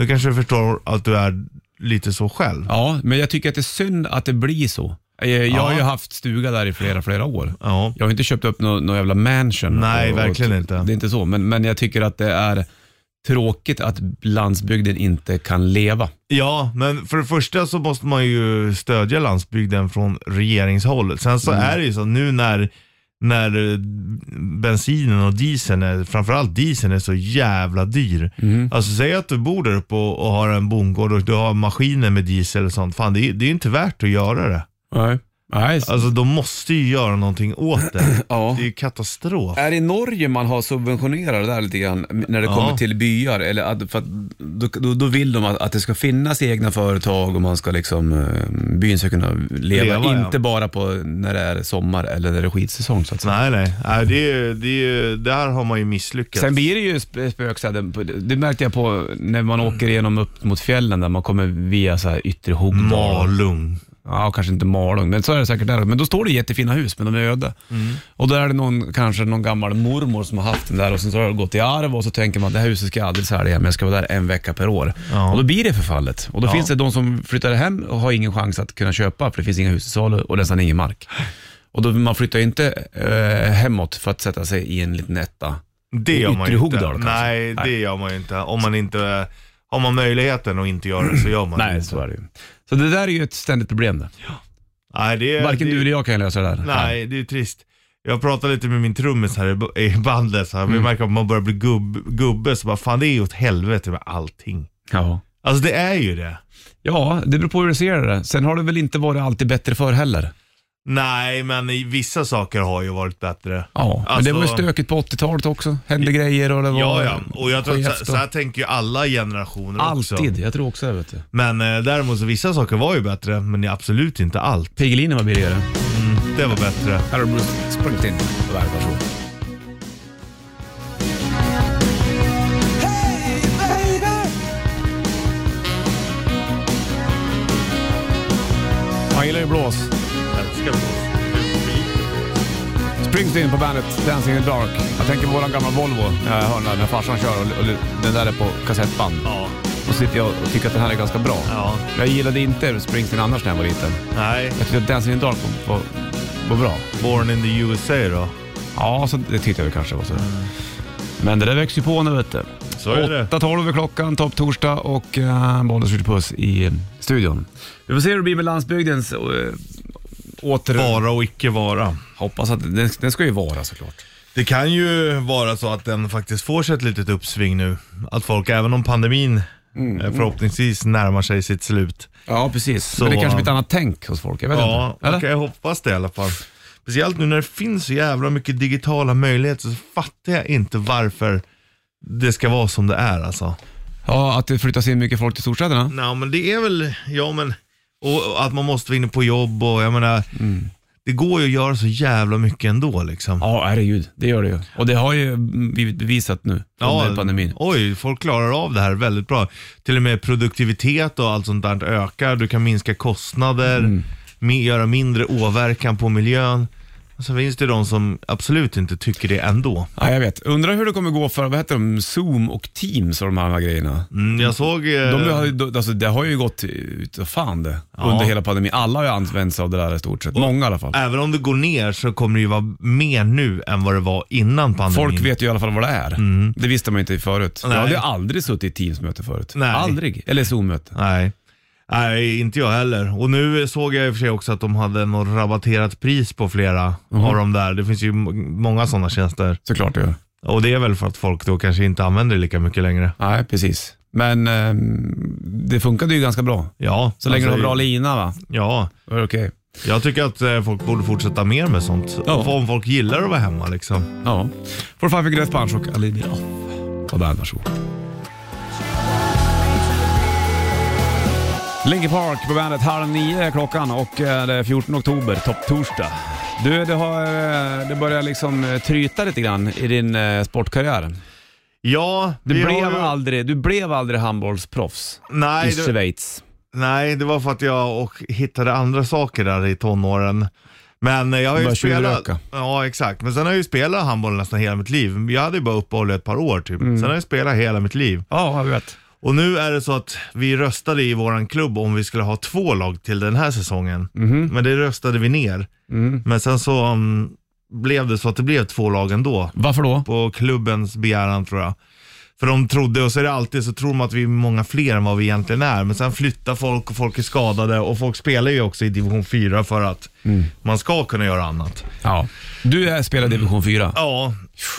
Då kanske du förstår att du är lite så själv. Ja, men jag tycker att det är synd att det blir så. Eh, Jag har ju Ja. haft stuga där i flera, flera år. Ja. Jag har inte köpt upp någon nå jävla mansion. Nej, verkligen inte. Det är inte så, men, men jag tycker att det är tråkigt att landsbygden inte kan leva. Ja, men för det första så måste man ju stödja landsbygden från regeringshåll. Sen så Mm. är det ju så nu när, när eh, bensinen och dieseln, är, framförallt dieseln är så jävla dyr. Mm. Alltså säg att du bor där uppe och, och har en bondgård och du har maskiner med diesel och sånt. Fan, det är, det är inte värt att göra det. Nej. Nej. Alltså de måste ju göra någonting åt det. Ja. Det är ju katastrof. Är det i Norge man har subventionerat det där lite grann när det Ja. kommer till byar? Eller att, för att, då, då, då vill de att, att det ska finnas egna företag och man ska liksom, eh, byn ska kunna leva. Leva, ja. inte bara på när det är sommar eller när det är skidsäsong så att säga. Nej, nej. nej det är, ju- det är, ju- där har man ju misslyckats. Sen blir det ju sp- spökstäder. på- Det märkte jag på när man åker igenom upp mot fjällen där man kommer via så här yttre Hogdal. Malung. Ja, kanske inte Malung, men så är det säkert där. Men då står det jättefina hus, men de är öde. Mm. Och då är det någon, kanske någon gammal mormor som har haft den där och sen så har det gått i arv och så tänker man det här huset ska jag aldrig sälja, men jag ska vara där en vecka per år. Ja. Och då blir det förfallet. Och då Ja. finns det de som flyttar hem och har ingen chans att kunna köpa, för det finns inga hus i salu och nästan ingen mark. Och då, man flyttar ju inte eh, hemåt för att sätta sig i en liten etta. Det gör man ju Yttre inte. Hogdal, kanske. Nej, det gör man ju inte. Om man inte har man möjligheten att inte göra det så gör man det Nej, inte. så är det ju. Så det där är ju ett ständigt problem. Där. Nej, det är, Varken det, du eller jag kan lösa det där. Nej, det är trist. Jag pratade lite med min trummis här i b- i bandet, så här. Mm. vi märker att man börjar bli gubb, gubbe, så bara fan det är ju åt helvete med allting. Ja. Alltså det är ju det. ja, det beror på hur du ser det. Sen har det väl inte varit alltid bättre för heller. Nej, men i vissa saker har ju varit bättre. Ja, men det Alltså- var ju stökigt på 80-talet också. Hände grejer och det var Ja, ja. Och jag tror att så, skevt och- så här tänker ju alla generationer också. Alltid, jag tror också det. vet du. Men eh, däremot så vissa saker var ju bättre, men absolut inte allt. Piggelinen var billigare. Det var bättre. Här har du Bruce Springsteen på Bandet. Varsågod. Han gillar ju blås. Älskar blås. Springsteen på bandet Dancing in the Dark. Jag tänker på våran gamla Volvo när jag hör den här, när farsan kör och, och den där är på kassettband. Ja, Och sitter jag och tycker att den här är ganska bra. ja. Jag gillade inte Springsteen annars när jag var liten. Nej. Jag tyckte att Dancing in the Dark var, var, var bra. Born in the USA då. Ja, så det tyckte jag väl kanske var så. Men det där växer ju på nu vet du. Så är det. 8.12 Mm. är klockan, topp torsdag och uh, Bollnäs skjuter puss i eh, studion. Vi får se hur det blir med landsbygdens eh, åter... Vara och icke vara. Hoppas att den, den ska ju vara såklart. Det kan ju vara så att den faktiskt får sig ett litet uppsving nu. Att folk, även om pandemin eh, förhoppningsvis närmar sig sitt slut. Ja, precis. Så- Men det kanske blir ett annat tänk hos folk. Jag vet Ja, inte. okej, Eller? jag hoppas det i alla fall. Speciellt nu när det finns så jävla mycket digitala möjligheter så fattar jag inte varför det ska vara som det är alltså. Ja, att det flyttas in mycket folk till storstäderna. Nej, men det är väl, ja men Och och att man måste vara inne på jobb och jag menar, Mm. det går ju att göra så jävla mycket ändå liksom. Ja, herregud. Det gör det ju. Och det har ju blivit bevisat nu under pandemin. Oj, folk klarar av det här väldigt bra. Till och med produktivitet och allt sånt där ökar. Du kan minska kostnader, Mm. mi- göra mindre åverkan på miljön. Och Sen finns det de som absolut inte tycker det ändå. Ja, jag vet. Undrar hur det kommer gå för, vad heter de, Zoom och Teams och de här grejerna. Mm, jag såg... eh, De har ju, alltså, det har ju gått ut och fan det under hela pandemin. Alla har ju använt sig av det där i stort sett. Många i alla fall. Även om det går ner så kommer det ju vara mer nu än vad det var innan pandemin. Folk vet ju i alla fall vad det är. Det visste man ju inte förut. Nej. Jag hade ju aldrig suttit i Teams-möte förut. Nej. Aldrig. Eller Zoom-möte. Nej. Nej, inte jag heller. Och nu såg jag i och för sig också att de hade något rabatterat pris på flera Mhm. av de där. Det finns ju m- många sådana tjänster. Såklart det gör. Och det är väl för att folk då kanske inte använder det lika mycket längre. Nej, precis. Men ehm, det funkade ju ganska bra. Ja. Så länge du alltså, har bra lina va? Ja. Då är det Okej. Jag tycker att eh, folk borde fortsätta mer med sånt. Ja. Om folk gillar att vara hemma liksom. Ja. Får Five Finger Death Punch och Alin Off. På band, varsågod. Linkin Park på bandet, halv nio är klockan och eh, det är 14 oktober, topptorsdag. Du, det, har, eh, det börjar liksom eh, tryta lite grann i din eh, sportkarriär. Ja, Du, vi har blev, ju- aldrig, du blev aldrig handbollsproffs i Nej, det- Schweiz. Nej, det var för att jag och hittade andra saker där i tonåren. Men eh, jag har ju Började spelat... tjuvröka. Ja, exakt. Men sen har jag ju spelat handboll nästan hela mitt liv. Jag hade ju bara uppehåll i ett par år typ. Sen har jag spelat hela mitt liv. Ja, jag vet. Och nu är det så att vi röstade i våran klubb om vi skulle ha två lag till den här säsongen. Men det röstade vi ner. Men sen så um, blev det så att det blev två lag ändå. Varför då? På klubbens begäran tror jag. För de trodde, och så är det alltid, så tror de att vi är många fler än vad vi egentligen är. Men sen flyttar folk och folk är skadade och folk spelar ju också i division 4 för att man ska kunna göra annat. Ja. Du är- spelar division 4. Ja,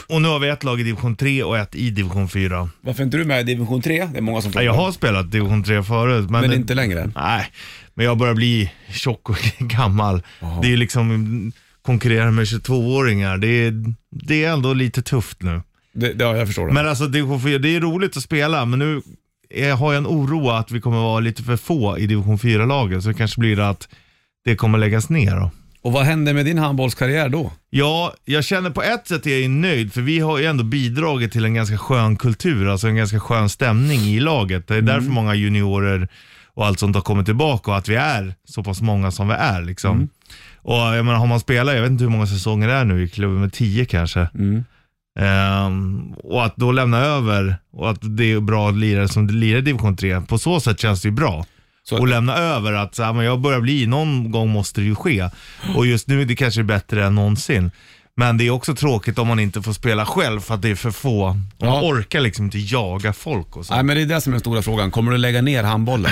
och nu har vi ett lag i division 3 och ett i division 4. Varför inte du med i division 3? Det är många som Ja, Jag har spelat division 3 förut. Men, Men inte längre? Nej, men jag börjar bli tjock och gammal. Det är ju liksom konkurrera med 22-åringar. Det är, det är ändå lite tufft nu. Det, det, ja, jag förstår det. Men alltså division 4, det är roligt att spela, men nu är, har jag en oro att vi kommer vara lite för få i division 4-laget, så det kanske blir det att det kommer läggas ner då. Och vad hände med din handbollskarriär då? Ja, jag känner på ett sätt är jag ju nöjd för vi har ju ändå bidragit till en ganska skön kultur, alltså en ganska skön stämning i laget. Det är därför många juniorer och allt sånt har kommit tillbaka och att vi är så pass många som vi är liksom. Och jag menar, har man spelat, jag vet inte hur många säsonger det är nu i klubben, med tio kanske. Ehm, och att då lämna över och att det är bra lirare som lirar i division 3, på så sätt känns det ju bra Så- och lämna över att så här, men jag börjar bli, någon gång måste det ju ske. Och just nu är det kanske bättre än någonsin. Men det är också tråkigt om man inte får spela själv för att det är för få. Och Man orkar liksom inte jaga folk och så. Nej, men det är det som är den stora frågan. Kommer du lägga ner handbollen?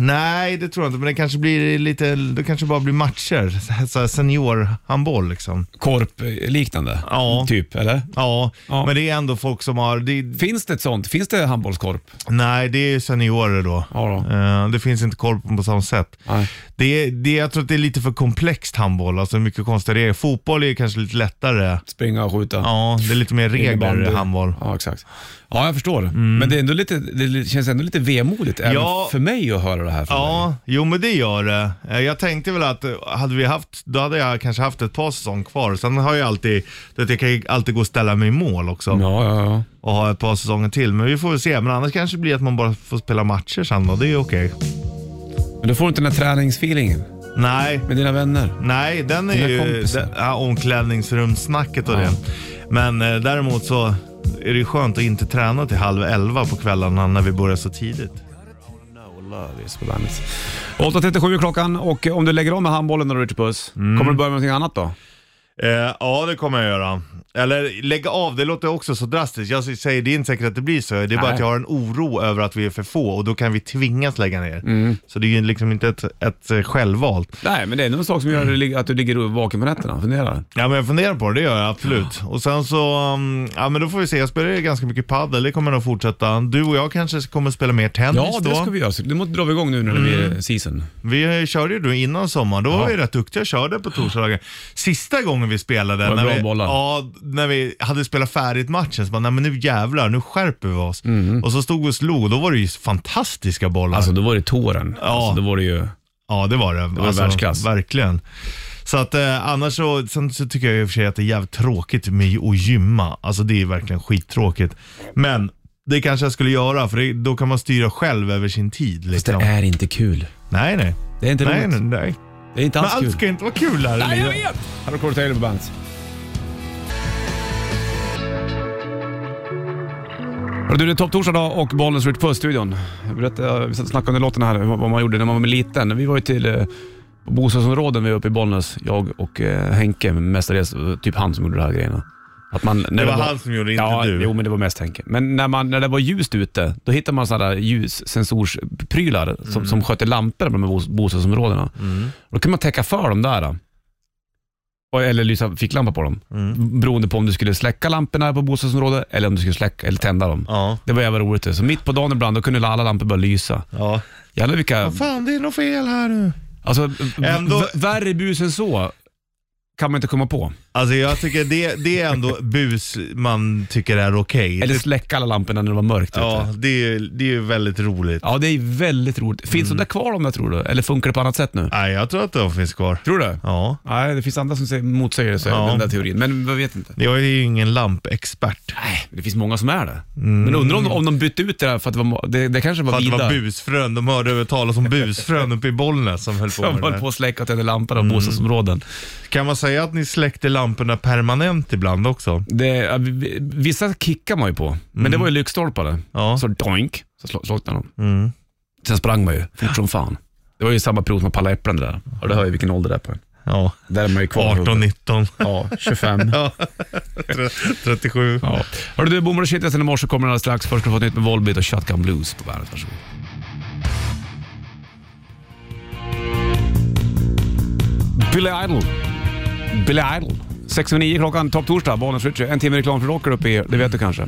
Nej, det tror jag inte. Men det kanske blir lite, det kanske bara blir matcher. Så här- Så här seniorhandboll liksom. Korp-liknande? Ja. Typ, eller? Ja, Ja. men det är ändå folk som har, det, Finns det ett sånt? Finns det handbollskorp? nej det är ju seniorer då. Ja då. Eh, det finns inte korpen på samma sätt. Nej. Det, det, jag tror att det är lite för komplext handboll, alltså hur mycket konstigare det är. Fotboll är kanske lite lättare. Springa och skjuta? Ja, det är lite mer regler Innebandy. i handboll. Mm. Ja, exakt. Ja, jag förstår. Men det, är ändå lite, det känns ändå lite vemodigt även Ja. för mig att höra det här. från dig. Ja, jo men det gör det. Eh, Jag tänkte väl att eh, hade vi haft, då hade jag kanske haft ett par säsonger kvar. Sen har jag alltid, du vet, jag kan ju alltid gå och ställa mig i mål också ja, ja, ja. och ha ett par säsonger till. Men vi får väl se. Men annars kanske det blir att man bara får spela matcher sen och det är okej. Men då får du inte den här träningsfeelingen Nej, med dina vänner. Nej, den är Dina ju kompisar. den, ja, omklädningsrumssnacket och det. Men eh, däremot så är det ju skönt att inte träna till halv elva på kvällarna när vi börjar så tidigt. Lovis på bandet. 8.37 är klockan och om du lägger om med handbollen när du är ute på buss, kommer du börja med någonting annat då? Eh, ja, det kommer jag göra. Eller lägga av, det låter också så drastiskt. Jag säger, det är inte säkert att det blir så. Det är bara Nej. att jag har en oro över att vi är för få och då kan vi tvingas lägga ner. Så det är ju liksom inte ett, ett eh, självvalt. Nej, men det är någon sak som gör att du ligger- att du ligger vaken på nätterna och funderar. Ja men jag funderar på det, det gör jag absolut. Och sen så, um, ja men då får vi se. Jag spelar ju ganska mycket padel, det kommer jag nog fortsätta. Du och jag kanske kommer spela mer tennis Ja, Mm. då. det ska vi göra. Så Du måste dra igång nu när det blir season. Vi eh, körde ju då innan sommaren, då var vi rätt duktiga och körde på torsdagar. Sista gången vi spelade, Var det när bra vi, bollar? ja, när vi hade spelat färdigt matchen, så bara, nej men nu jävlar, nu skärper vi oss. Och så stod vi och slog och då var det ju fantastiska bollar. Mhm. Alltså, då var det tåren. Ja. Alltså, då var det ju... Ja, det var det. var världsklass. Verkligen. Så att eh, annars så, sen så tycker jag i och för sig att det är jävligt tråkigt med att gymma. Alltså det är verkligen skittråkigt. Men det kanske jag skulle göra för det, då kan man styra själv över sin tid. Fast det Liksom. är inte kul. Nej, nej. Det är inte Nej, nej, roligt. nej. Det är inte Men alls allt kul. ska inte vara kul här i livet. Här har Corey Taylor på bandet. Hörru Du, det är topptorsdag idag och Bollnäs Rich Puss-studion. Jag berättade- Vi satt och snackade under låten här vad vad man gjorde när man var liten. Vi var ju till eh, på bostadsområden vi var uppe i Bollnäs, jag och eh, Henke mestadels. Det var Typ han som gjorde de här grejerna. Att man, när var han som gjorde det, inte ja, du. Jo, men det var mest Henke. Men när, man, när det var ljust ute, då hittade man sådana där ljussensorsprylar som, Mm. som skötte lamporna på de här bos- bostadsområdena. Då kunde man täcka för dem där. Då. Och- Eller lysa ficklampa på dem. Mm. Beroende på om du skulle släcka lamporna på bostadsområdet eller om du skulle släcka eller tända dem. Ja. Det var jävla roligt. det. Så mitt på dagen ibland, då kunde alla lampor börja lysa. Ja. Jävlar vilka... Vad fan, det är något fel här nu. Alltså, Ändå- v- värre bus än så kan man inte komma på. Alltså jag tycker det, det är ändå bus man tycker är okej. Eller släcka alla lamporna när det var mörkt Ja, ute. det är, det är ju väldigt roligt. Ja, det är väldigt roligt. Finns Mm. de där kvar de där tror du? Eller funkar det på annat sätt nu? Nej, jag tror att de finns kvar. Tror du? Ja. Nej, det finns andra som säger- motsäger det, så Ja. den där teorin. Men jag vet inte. Jag är ju ingen lampexpert. Nej, det finns många som är det. Men undrar om, de- om de bytte ut det där för att det, var, mo- det, det kanske var Mm. För att det Vida. var busfrön. De hörde över talas om busfrön uppe i Bollnäs som höll på som med det höll på där. Mm. att släcka och tända lampan av bostadsområden. Kan man säga att ni släckte lamporna permanent ibland också? Det, ja, vi- vi- vissa kickar man ju på, men det var ju lyktstolpar det. Mm. Ja. Mm. Så doink, så sl- slocknade de. Sen sprang man ju fort som fan. Det var ju samma period som att palla äpplen det där. Och det hör ju vilken ålder det är på en. Ja. Där är man ju kvar. 18, 19, Ja, 25. 37. ja. Hörru du, Bommar och Kittlesen i morse kommer alldeles strax. Först ska du få ett nytt med Volbeat och Shotgun Blues på bandet. Varsågod. Billy Idol. Billy Idol. 6.09 klockan, topp torsdag, Bollnäs Ritchie. En timme reklam för rocker uppe i, det vet du kanske.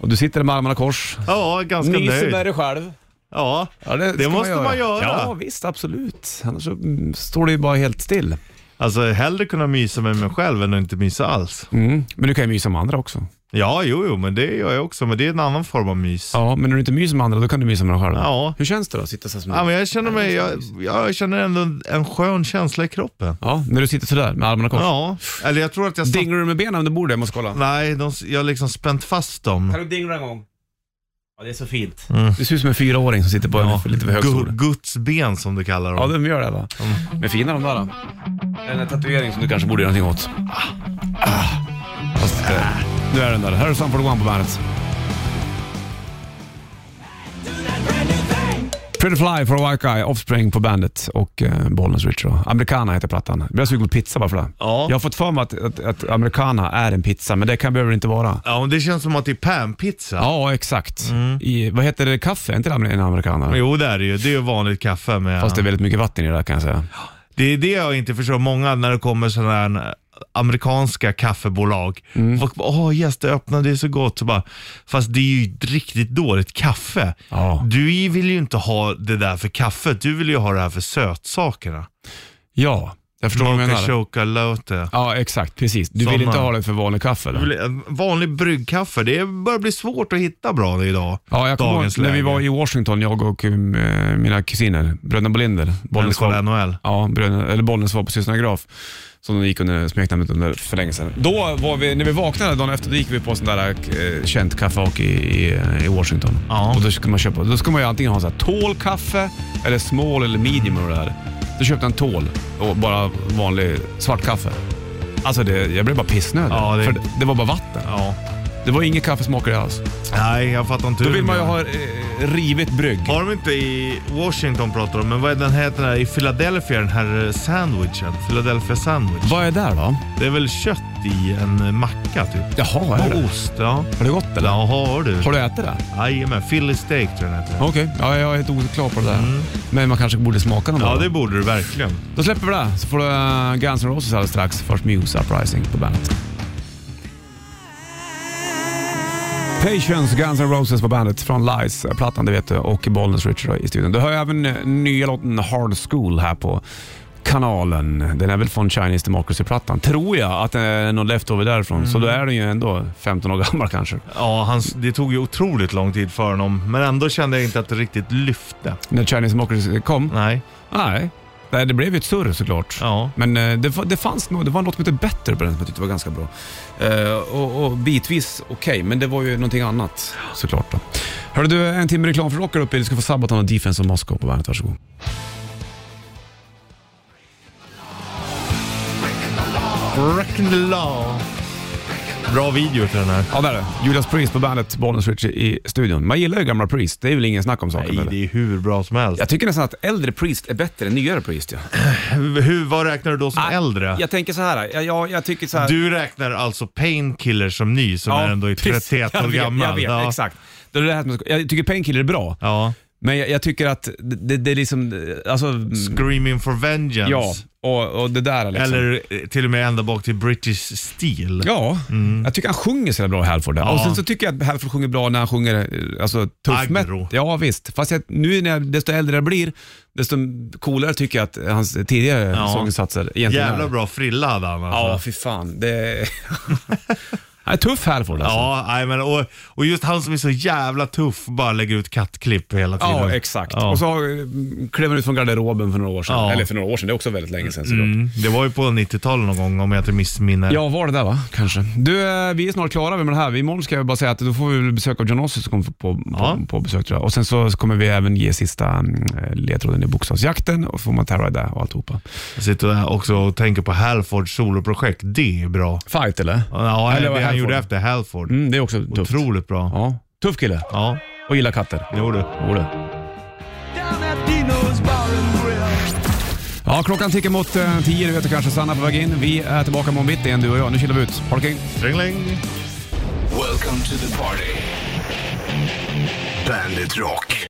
Och du sitter med armarna kors. Ja, ganska Myser med nöjd. dig själv. Ja. det ska måste man göra. Ja, visst, absolut. Annars så mm, står det ju bara helt still. Alltså hellre kunna mysa med mig själv än att inte mysa alls. Mm. Men du kan ju mysa med andra också. Ja, jo, jo, men det gör jag också. Men det är en annan form av mys. Ja, men när du inte myser med andra, då kan du mysa med dig själv. Ja. Hur känns det då att sitta så här som Ja, men jag känner mig, jag, jag känner ändå en, en skön känsla i kroppen. Ja, när du sitter sådär med armarna kors. Ja, eller jag tror att jag satt... Dinglar du med benen under bordet? Jag måste kolla. Nej, de, jag har liksom spänt fast dem. du dingla en gång? Ja, det är så fint. Du ser ut som en fyraåring som sitter på en, lite för hög Gu- stol. Guds ben som du kallar dem. Ja, de gör det va? Mm. Men fina de där då. Eller en tatuering som du kanske borde göra någonting åt. Ah. Ah. Fast, eh, Nu är den där. Här är Sunford One på bandet. Pretty Fly for a White Guy, Offspring på bandet och eh, Bollnäs Ritual. Americana heter plattan. Jag blir sugen på pizza bara för det. Ja. Jag har fått för mig att, att, att Americana är en pizza, men det kan behöver det inte vara. Ja, men det känns som att det är panpizza. Ja, exakt. I, vad heter det? Kaffe? Är inte det en Americana? Mm. Jo, det är det ju. Det är ju vanligt kaffe med... Fast det är väldigt mycket vatten i det där kan jag säga. Det är det jag inte förstår. Många när det kommer sådana här eh, amerikanska kaffebolag. Mm. Folk bara, åh yes, det öppnar, det är så gott. Så bara, Fast det är ju ett riktigt dåligt kaffe. Ja. Du vill ju inte ha det där för kaffet, du vill ju ha det här för sötsakerna. Ja, jag förstår vad du Mocha menar. chocolate. Ja, exakt. Precis. Du vill Såna. inte ha det för vanlig kaffe? Eller? eh, Vanlig bryggkaffe, det börjar bli svårt att hitta bra idag. Ja, jag kommer Dagens ihåg när vi läge. var i Washington, jag och eh, mina kusiner, bröderna Bolinder. När vi Bollnäs kollar var, NHL. ja, bröderna, eller Bollnäs var på Systrarna Graf, som de gick under smeknamnet under för länge sedan. Då var vi, när vi vaknade dagen efter, då gick vi på sån där eh, känt kaffehak i, i, eh, i Washington. Ja. Och då skulle man köpa, då skulle man ju antingen ha så här tall kaffe, eller small eller medium eller det här. Då köpte jag en tall och bara vanlig svart kaffe. Alltså det, jag blev bara pissnödig. Ja, det- För det, det var bara vatten. Ja. Det var inget kaffesmak i det alls. Nej, jag fattar inte Då hur vill de man ju gör. ha eh, rivet brygg. Har de inte i Washington pratar de, men vad är den här, heter den här i Philadelphia, den här eh, sandwichen? Philadelphia sandwich. Vad är där då? Det är väl kött i en eh, macka typ? Jaha, är Och det? ost, ja. Har det gått eller? Ja, har du. Har du ätit det? Jajamän, Philly steak tror jag den heter. Okej, ja, jag är helt oklar på det där. Men man kanske borde smaka någon Ja, dag. det borde du verkligen. Då släpper vi det, så får du eh, Guns N' Roses alldeles strax. Först Muse Uprising på bandet. Patience, Guns N' Roses på bandet från eh, Lies-plattan, det vet du, och Bollnäs Richard i studion. Du hör ju även eh, nya låten Hard School här på kanalen. Den är väl från Chinese Democracy-plattan. Tror jag att det är någon leftover därifrån. Så då är den ju ändå 15 år gammal kanske. Ja, hans, det tog ju otroligt lång tid för honom, men ändå kände jag inte att det riktigt lyfte. När Chinese Democracy kom? Nej. Nej. Nej, det blev ju ett surr såklart. Ja. Men eh, det, fa- det fanns nog, det var en låt som hette Better på den som jag tyckte var ganska bra. Eh, och, och bitvis okej, men det var ju någonting annat såklart. Då. Hörde du, en timme reklam för rockar uppe. Du ska få Sabaton och Defense of Moscow på bandet. Varsågod. Wreck the law. Bra video till den här. Ja, där är det. Judas Priest på bandet, Bollnäs Richie i studion. Man gillar ju gamla Priest, det är väl ingen snack om saken. Nej, eller? det är hur bra som helst. Jag tycker nästan att äldre Priest är bättre än nyare Priest. Ja. Hur, vad räknar du då som äldre? Ah, Jag tänker så här, jag, jag, jag tycker så här. Du räknar alltså Painkiller som ny, som är ändå är precis. 31 Jag år vet, gammal. Jag vet, ja. exakt. Det är det här som jag ska- jag tycker Painkiller är bra. Ja. Men jag, jag tycker att det, det, det är liksom, eh, alltså... mm, Screaming for Vengeance. Ja, och, och det där liksom. Eller eh, till och med ända bak till British Steel. Ja, jag tycker han sjunger så jävla bra Halford. där. Mm. Ja. Och sen så tycker jag att Halford sjunger bra när han sjunger eh, alltså, tuff Aggro. met- Ja, visst. Fast jag, nu när jag, desto äldre jag blir, desto coolare tycker jag att hans tidigare Ja. sånginsatser egentligen Jävla är. bra frilla hade han alltså. Ja, fy fan. Det... Han är tuff Halford alltså. Ja, nej, men, och, och just han som är så jävla tuff bara lägger ut kattklipp hela tiden. Ja, exakt. Ja. Och så eh, klev han ut från garderoben för några år sedan. Ja. Eller för några år sedan, det är också väldigt länge sedan såklart. Mm, det var ju på 90-talet någon gång om jag inte missminner. Ja, var det där va? Kanske. Du, eh, vi är snart klara med det här. Imorgon ska jag bara säga att då får vi väl besök av John Ossie som kommer på, på, Ja. på, på besök tror jag. Och sen så kommer vi även ge sista mm, ledtråden i Bokstavsjakten och får man terra där och alltihopa. Jag sitter där också och tänker på Halfords soloprojekt. Det är bra. Fight eller? Ja, Eller det var han Halford. gjorde efter Halford. Mm, det är också tufft. Otroligt bra. Ja, Ja. Tuff kille ja och gillar katter. jo du. Jo, det. Ja, klockan tickar mot eh, tio, du vet du kanske. Sanna på väg in. Vi är tillbaka imorgon bitti igen du och jag. Nu kilar vi ut. Ha det kring. Tringling. Welcome to the party. Bandit Rock.